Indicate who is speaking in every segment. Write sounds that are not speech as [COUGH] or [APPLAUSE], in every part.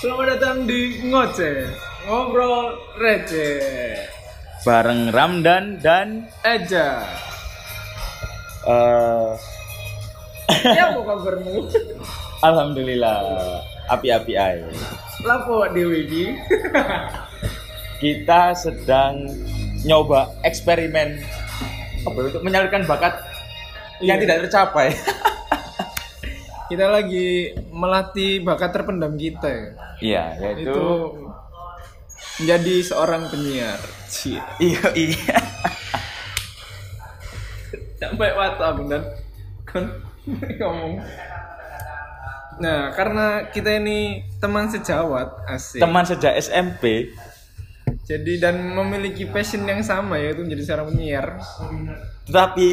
Speaker 1: Selamat datang di Ngoceh Ngobrol Receh
Speaker 2: bareng Ramdan dan
Speaker 1: Eja
Speaker 2: eh,
Speaker 1: [LAUGHS] Ya mau kabarmu
Speaker 2: alhamdulillah api-api ae.
Speaker 1: Lapo di [LAUGHS] Widi
Speaker 2: Kita sedang nyoba eksperimen apa ya, untuk menyalurkan bakat yang
Speaker 1: Iya.
Speaker 2: tidak tercapai.
Speaker 1: Kita lagi melatih bakat terpendam kita ya.
Speaker 2: Iya,
Speaker 1: Itu,
Speaker 2: yaitu
Speaker 1: menjadi seorang penyiar Cie.
Speaker 2: iya iya.
Speaker 1: Sampai wata bener Kan [LAUGHS] ngomong Nah karena kita ini teman sejawat asik
Speaker 2: Teman sejak SMP
Speaker 1: Jadi dan memiliki passion yang sama yaitu menjadi seorang penyiar
Speaker 2: tetapi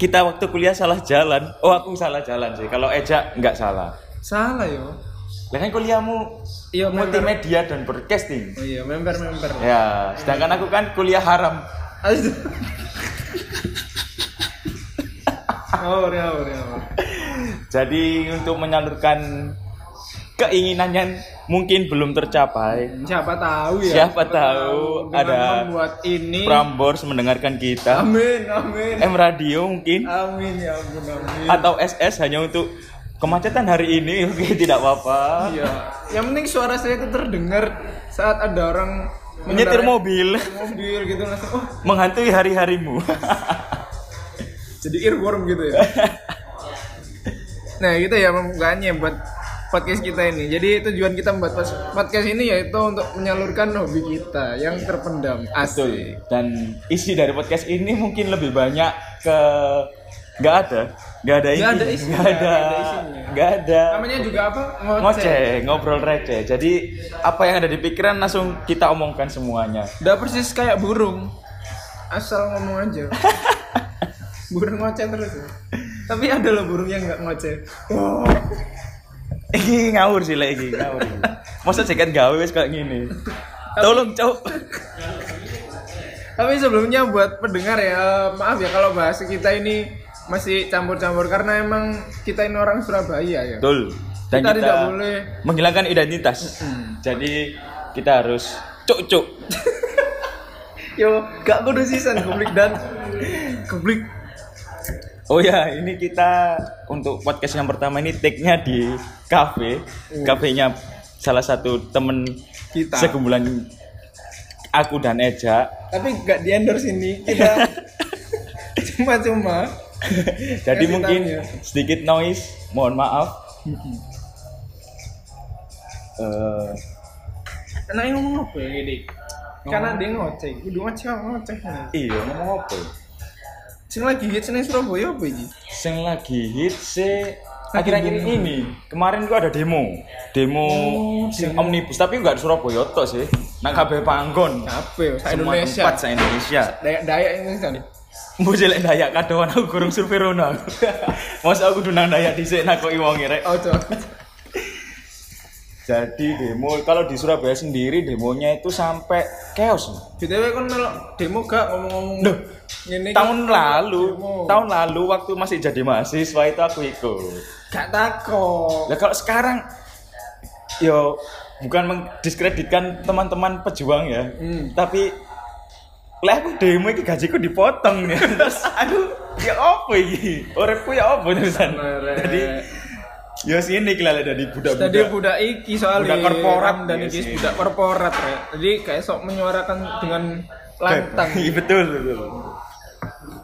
Speaker 2: kita waktu kuliah salah jalan. Oh, aku salah jalan sih. Kalau Eja nggak salah.
Speaker 1: Salah yo
Speaker 2: Lah kan kuliahmu
Speaker 1: Iya, member.
Speaker 2: multimedia dan broadcasting.
Speaker 1: Oh iya, member-member.
Speaker 2: Ya, sedangkan aku kan kuliah haram.
Speaker 1: Aduh. Ngawur, ngawur, ngawur.
Speaker 2: Jadi untuk menyalurkan keinginan yang mungkin belum tercapai,
Speaker 1: Siapa tahu ya.
Speaker 2: Siapa tahu
Speaker 1: dengan
Speaker 2: ada
Speaker 1: membuat ini.
Speaker 2: Prambors mendengarkan kita,
Speaker 1: Amin, amin.
Speaker 2: M Radio mungkin
Speaker 1: Amin ya ampun, amin.
Speaker 2: atau SS hanya untuk kemacetan hari ini, [LAUGHS] oke tidak apa-apa.
Speaker 1: Iya. Yang penting suara saya itu terdengar saat ada orang
Speaker 2: Menyetir
Speaker 1: mengendarai
Speaker 2: mobil
Speaker 1: mobil gitu langsung. Oh,
Speaker 2: menghantui hari-harimu. [LAUGHS]
Speaker 1: jadi earworm gitu ya. nah, gitu ya pembukanya buat podcast kita ini. Jadi tujuan kita membuat pos- podcast ini yaitu untuk menyalurkan hobi kita yang terpendam. Asik.
Speaker 2: Betul. Dan isi dari podcast ini mungkin lebih banyak ke nggak ada, nggak ada
Speaker 1: Nggak ada
Speaker 2: ini,
Speaker 1: isinya,
Speaker 2: nggak ada,
Speaker 1: nggak ada isinya.
Speaker 2: nggak ada.
Speaker 1: Namanya juga apa?
Speaker 2: ngoceh, ngobrol receh. Jadi apa yang ada di pikiran langsung kita omongkan semuanya.
Speaker 1: Udah persis kayak burung. Asal ngomong
Speaker 2: [LAUGHS]
Speaker 1: aja. burung ngoceh terus. ya. Tapi ada loh burung yang nggak ngoceh. Oh.
Speaker 2: Iki ngawur sih lagi ngawur. Masa jaket gawe wis kayak gini. Tolong, Cok.
Speaker 1: Tapi sebelumnya buat pendengar ya, maaf ya kalau bahasa kita ini masih campur-campur karena emang kita ini orang Surabaya ya.
Speaker 2: Betul. Dan
Speaker 1: Kita
Speaker 2: kita,
Speaker 1: tidak boleh.
Speaker 2: menghilangkan identitas. Jadi kita harus cuk-cuk.
Speaker 1: Yo, gak kudu sisan publik dan publik
Speaker 2: Oh ya, ini kita untuk podcast yang pertama ini take-nya di kafe. Kafenya salah satu temen
Speaker 1: Mm. Kita.
Speaker 2: segumulan aku dan Eja.
Speaker 1: tapi gak di endorse ini
Speaker 2: [LAUGHS]
Speaker 1: kita cuma-cuma Kasih
Speaker 2: Jadi mungkin
Speaker 1: tahu ya.
Speaker 2: sedikit noise, mohon maaf. Eh,
Speaker 1: Karena yang ngomong apa ya ini?
Speaker 2: Oh.
Speaker 1: Karena dia ngoceh, kudu ngoceh ngoceh.
Speaker 2: iya ngomong apa? ya?
Speaker 1: Sing lagi hits ning Surabaya apa iki?
Speaker 2: Sing lagi hit se akhir-akhir ini kemarin gua ada demo, demo
Speaker 1: Oh,
Speaker 2: sing omnibus tapi nggak di Surabaya tok sih, nang kabeh panggon.
Speaker 1: Apa ya? Sa
Speaker 2: Semua
Speaker 1: Indonesia.
Speaker 2: tempat sa Indonesia.
Speaker 1: Dayak-dayak ini kan.
Speaker 2: Mbok jelek dayak kadoan aku gurung survei rono aku. [LAUGHS] Masa aku dunang dayak dhisik nakoki wong rek.
Speaker 1: Oh, cok.
Speaker 2: Jadi demo kalau di Surabaya sendiri demonya itu sampai chaos.
Speaker 1: BTW kon melok demo gak ngomong-ngomong.
Speaker 2: Duh,
Speaker 1: ngene iki Iya,
Speaker 2: tahun lalu
Speaker 1: demo.
Speaker 2: tahun lalu waktu masih jadi mahasiswa itu aku ikut
Speaker 1: gak takok.
Speaker 2: nah kalau sekarang yo bukan mendiskreditkan teman-teman pejuang ya
Speaker 1: Hmm.
Speaker 2: tapi lah aku demo iki gajiku dipotong
Speaker 1: [LAUGHS]
Speaker 2: ya terus aduh ya apa iki uripku ya apa terusan
Speaker 1: Merek.
Speaker 2: jadi yo sini iki lah dari budak-budak
Speaker 1: Tadi budak iki soalnya
Speaker 2: Budak korporat
Speaker 1: dan
Speaker 2: iya
Speaker 1: iki
Speaker 2: sih.
Speaker 1: budak korporat ya. Jadi kayak sok menyuarakan dengan lantang.
Speaker 2: [LAUGHS] Iya, betul betul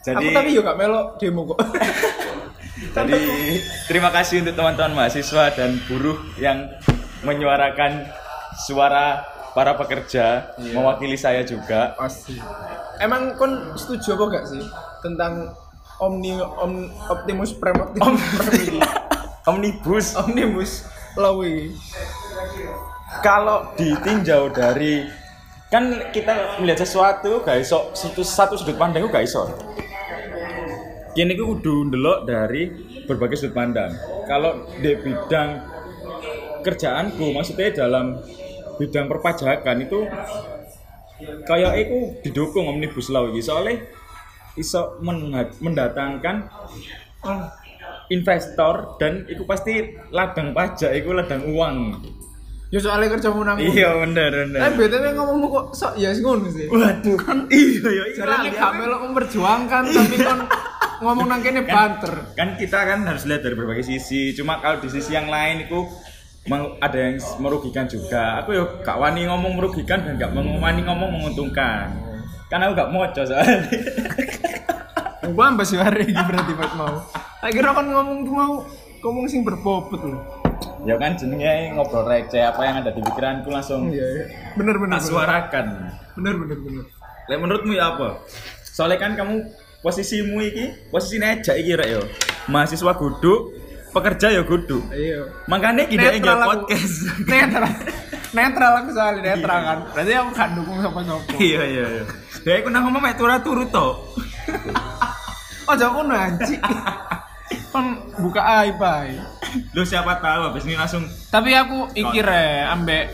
Speaker 2: jadi
Speaker 1: Aku tapi juga melok demo kok. [LAUGHS]
Speaker 2: Jadi terima kasih untuk teman-teman mahasiswa dan buruh yang menyuarakan suara para pekerja mewakili saya juga.
Speaker 1: Pasti. Emang kon setuju apa gak sih tentang omni om, optimus prime optimus prime [LAUGHS] ini?
Speaker 2: Omnibus
Speaker 1: omnibus law ini?
Speaker 2: kalau ditinjau dari kan kita melihat sesuatu gak iso satu, satu sudut pandang itu gak iso. Kini aku kudu ndelok dari berbagai sudut pandang. Kalau di bidang kerjaanku maksudnya dalam bidang perpajakan itu kayak aku didukung omnibus law ini soalnya iso menha- mendatangkan
Speaker 1: Oh,
Speaker 2: investor dan itu pasti ladang pajak itu ladang uang
Speaker 1: Ya soalnya kerja menang.
Speaker 2: Iya bener bener.
Speaker 1: Eh BTW ngomongmu kok sok ya yes, ngono sih.
Speaker 2: Waduh kan iya ya
Speaker 1: Jarane gak melok memperjuangkan tapi kon ngomong nang kene banter.
Speaker 2: kan kita kan harus lihat dari berbagai sisi cuma kalau di sisi yang lain itu meng- ada yang s- merugikan juga aku ya gak wani ngomong merugikan dan gak mau wani ngomong menguntungkan karena aku gak moco soalnya [LAUGHS]
Speaker 1: Gua ambas ya hari iki berarti pas mau. Tak kira kon ngomong ki mau ngomong sing berbobot lho.
Speaker 2: ya kan jenenge ngobrol receh apa yang ada di pikiranku langsung
Speaker 1: Iya iya. Bener bener.
Speaker 2: tak suarakan
Speaker 1: Bener bener bener.
Speaker 2: Lek menurutmu ya apa? Soalnya kan kamu posisimu iki, posisi nejak iki rek yo. Mahasiswa guduk, pekerja ya guduk.
Speaker 1: Iya.
Speaker 2: Makanya kita yang
Speaker 1: aku.
Speaker 2: podcast.
Speaker 1: [LAUGHS] Netral. Netral aku soalnya netral kan. Berarti aku gak dukung
Speaker 2: [LAUGHS]
Speaker 1: sapa-sapa.
Speaker 2: iya iya iya. Dek aku nang ngomong mek turu-turu to.
Speaker 1: Oh, jangan aku nanti. Kon buka aib ae.
Speaker 2: Lu siapa tahu habis ini langsung
Speaker 1: Tapi aku iki re ambek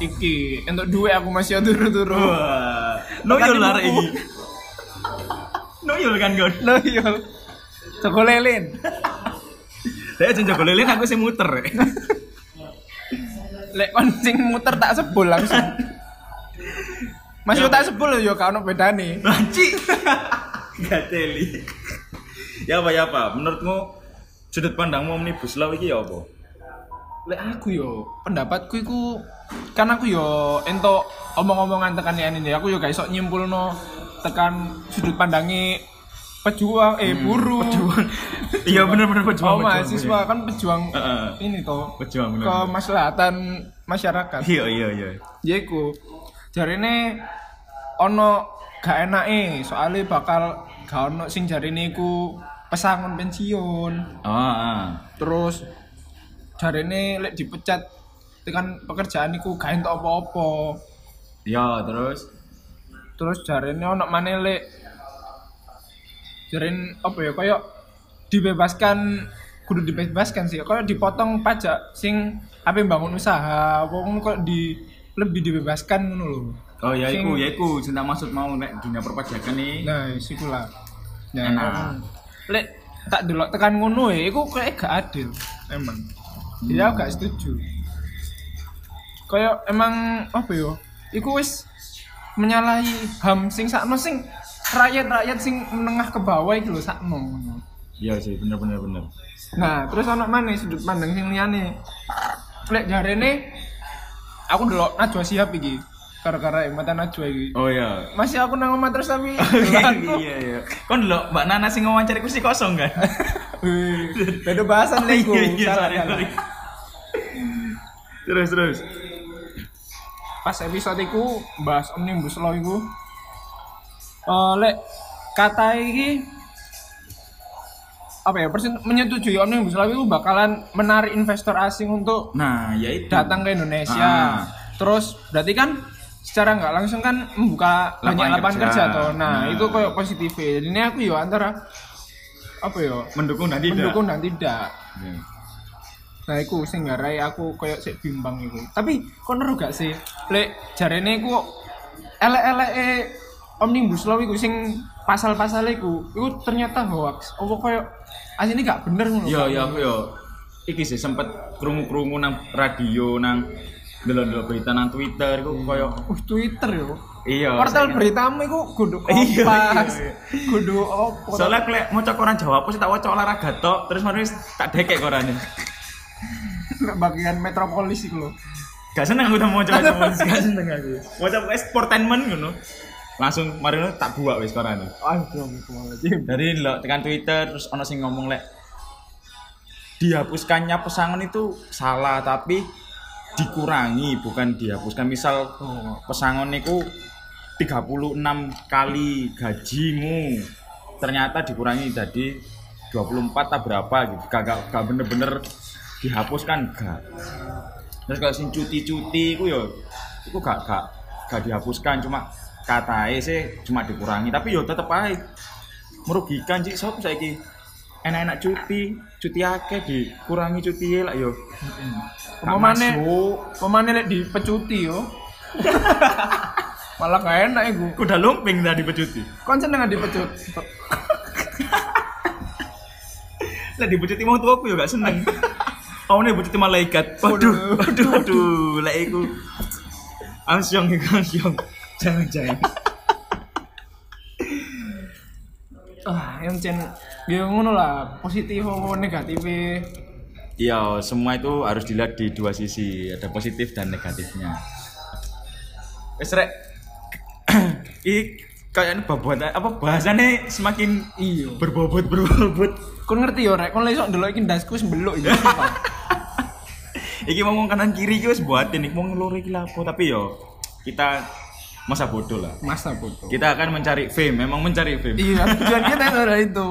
Speaker 1: iki untuk duit aku masih
Speaker 2: Oh.
Speaker 1: turu-turu.
Speaker 2: wah. Noyol lah rek iki. Noyol kan god.
Speaker 1: Lo yo. Toko lelin.
Speaker 2: Dek jenjak lilin aku sing muter rek.
Speaker 1: Lek kon sing muter tak sebul langsung. Masih tak sebul yo kau ono bedane.
Speaker 2: Lanci. Gateli. Ya apa ya apa? Menurutmu sudut pandangmu omnibus law iki ya apa?
Speaker 1: Lek aku yo pendapatku iku kan aku yo entok omong-omongan tekan ya ini aku yo gak iso nyimpulno tekan sudut pandangi pejuang eh buruh [LAUGHS]
Speaker 2: Iya bener-bener
Speaker 1: Oh,
Speaker 2: Hmm, pejuang.
Speaker 1: mahasiswa kan pejuang
Speaker 2: Heeh.
Speaker 1: ini toh
Speaker 2: Pejuang, bener.
Speaker 1: kemaslahatan masyarakat.
Speaker 2: Iya iya iya.
Speaker 1: Yaiku jarine ono gak enake soalnya bakal gak ono sing jarine iku pesangon pensiun.
Speaker 2: Ah, ah.
Speaker 1: Terus jarine lek dipecat tekan pekerjaan iku gak entuk apa-apa.
Speaker 2: Ya terus
Speaker 1: Terus jarine ono maneh lek jarin apa ya koyo dibebaskan kudu dibebaskan sih koyo dipotong pajak sing apa yang bangun usaha wong kok di lebih dibebaskan ngono lho
Speaker 2: Oh ya
Speaker 1: Sing-
Speaker 2: iku ya iku cinta maksud mau nek dunia perpajakan nih.
Speaker 1: nah siku lah nah,
Speaker 2: Enak.
Speaker 1: emang. lek tak delok tekan ngono ya iku kayak gak adil emang jadi aku gak setuju koyo emang apa ya iku wis menyalahi ham sing sakno sing rakyat-rakyat sing menengah ke bawah iki lho sakno ngono
Speaker 2: Iya sih bener bener bener.
Speaker 1: Nah, terus anak mana sudut pandang sing liyane? Lek jarene aku ndelok Najwa Shihab iki. Gara-gara mata Najwa iki.
Speaker 2: Oh ya.
Speaker 1: Masih aku nang omah terus [LAUGHS] tapi aku.
Speaker 2: [LAUGHS] iya iya. Kon lho Mbak Nana sing ngawancariku sih kosong kan.
Speaker 1: Wih, Beda bahasan lek iku.
Speaker 2: Iya, iya,
Speaker 1: Salah, kan?
Speaker 2: sorry,
Speaker 1: salah.
Speaker 2: sorry. [LAUGHS] Terus terus.
Speaker 1: Pas episode iku bahas Omnibus Law iku. Eh lek kata iki apa ya persen menyetujui Omnibus Law itu bakalan menarik investor asing untuk
Speaker 2: Nah, ya itu.
Speaker 1: datang ke Indonesia.
Speaker 2: Ah.
Speaker 1: Terus berarti kan secara nggak langsung kan membuka
Speaker 2: Lapangan
Speaker 1: banyak lapangan
Speaker 2: kerja.
Speaker 1: kerja, toh. Nah,
Speaker 2: Nah.
Speaker 1: itu kayak positif. Jadi ini aku yo antara apa yo
Speaker 2: Mendukung dan tidak.
Speaker 1: mendukung dan tidak.
Speaker 2: Iya.
Speaker 1: Nah, iku sing ngarai aku kayak sik bimbang iku. Tapi kok neru gak sih? Lek jarene iku elek-eleke Omnibus Law iku sing pasal-pasal iku, iku ternyata hoax. Apa kayak aslinya gak bener ngono.
Speaker 2: Yo yo aku yo iki sih sempet krungu-krungu nang radio nang delok-delok berita nang Twitter iku koyo
Speaker 1: Uh, Twitter yo.
Speaker 2: iya.
Speaker 1: Portal
Speaker 2: saking-
Speaker 1: beritamu itu kudu
Speaker 2: Iya,
Speaker 1: kompas,
Speaker 2: iya, iya.
Speaker 1: kudu opo.
Speaker 2: Soalnya aku lek mau orang Jawa apa sih tak wacok olahraga tok, terus mari tak dekek korane.
Speaker 1: Nggak bagian metropolis iku lho.
Speaker 2: Gak seneng aku mau coba coba [LAUGHS] gak seneng aku. Mau coba sportainment ngono. Langsung mari ngono tak buak wis korane.
Speaker 1: Aduh, astagfirullahaladzim.
Speaker 2: Dari lo tekan Twitter terus ono sing ngomong lek dihapuskannya pesangon itu salah tapi dikurangi bukan dihapuskan misal
Speaker 1: Oh.
Speaker 2: pesangon niku 36 kali gajimu ternyata dikurangi jadi 24 tak berapa gitu gak, gak, gak bener-bener dihapuskan gak terus kalau sing cuti-cuti ku yo iku gak gak gak dihapuskan cuma katae sih cuma dikurangi tapi yo tetep ae merugikan sih sopo saiki enak-enak cuti cuti akeh dikurangi cuti lah ya. yo Gak
Speaker 1: Pemane,
Speaker 2: masuk.
Speaker 1: pemane lek dipecuti
Speaker 2: [LAUGHS]
Speaker 1: yo. Malah gak enak iku.
Speaker 2: Aku udah lumping tadi pecuti
Speaker 1: Kon seneng nggak dipecut.
Speaker 2: [LAUGHS] Lah dibujuti mau tuaku ya gak seneng. awalnya butuh malaikat waduh waduh waduh lah iku ansyong iku ansyong jangan jangan
Speaker 1: ah yang cen ya ngono lah positif apa negatif e.
Speaker 2: iya semua itu harus dilihat di dua sisi ada positif dan negatifnya wes rek [CLEARS THROAT] i kayaknya babot apa bahasannya semakin
Speaker 1: iya
Speaker 2: berbobot berbobot
Speaker 1: kon ngerti ya rek kon lesok ndelok iki ndasku wis iya. mbeluk iki sumpah.
Speaker 2: iki mau ngomong kanan kiri iki wis buatin iki mau ngelur iki lapo tapi yo kita masa bodoh lah
Speaker 1: [LAUGHS] masa foto
Speaker 2: kita akan mencari fame memang mencari fame
Speaker 1: iya tujuan kita adalah itu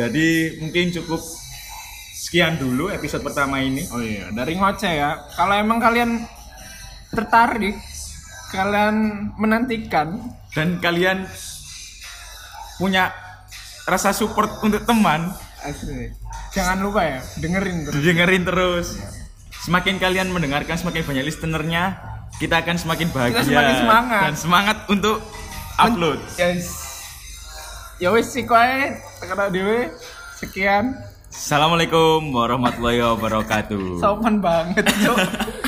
Speaker 2: Jadi mungkin cukup sekian dulu episode pertama ini.
Speaker 1: [LAUGHS] oh iya dari ngoceh ya kalau emang kalian tertarik kalian menantikan
Speaker 2: Dan kalian punya rasa support untuk teman,
Speaker 1: asli jangan lupa ya dengerin terus
Speaker 2: dengerin terus. Semakin kalian mendengarkan, semakin banyak listenernya, kita akan semakin bahagia
Speaker 1: semakin semangat.
Speaker 2: dan semangat untuk upload.
Speaker 1: yes ya wis sih koe kena dewe sekian
Speaker 2: Assalamualaikum warahmatullahi wabarakatuh.
Speaker 1: sopan banget cok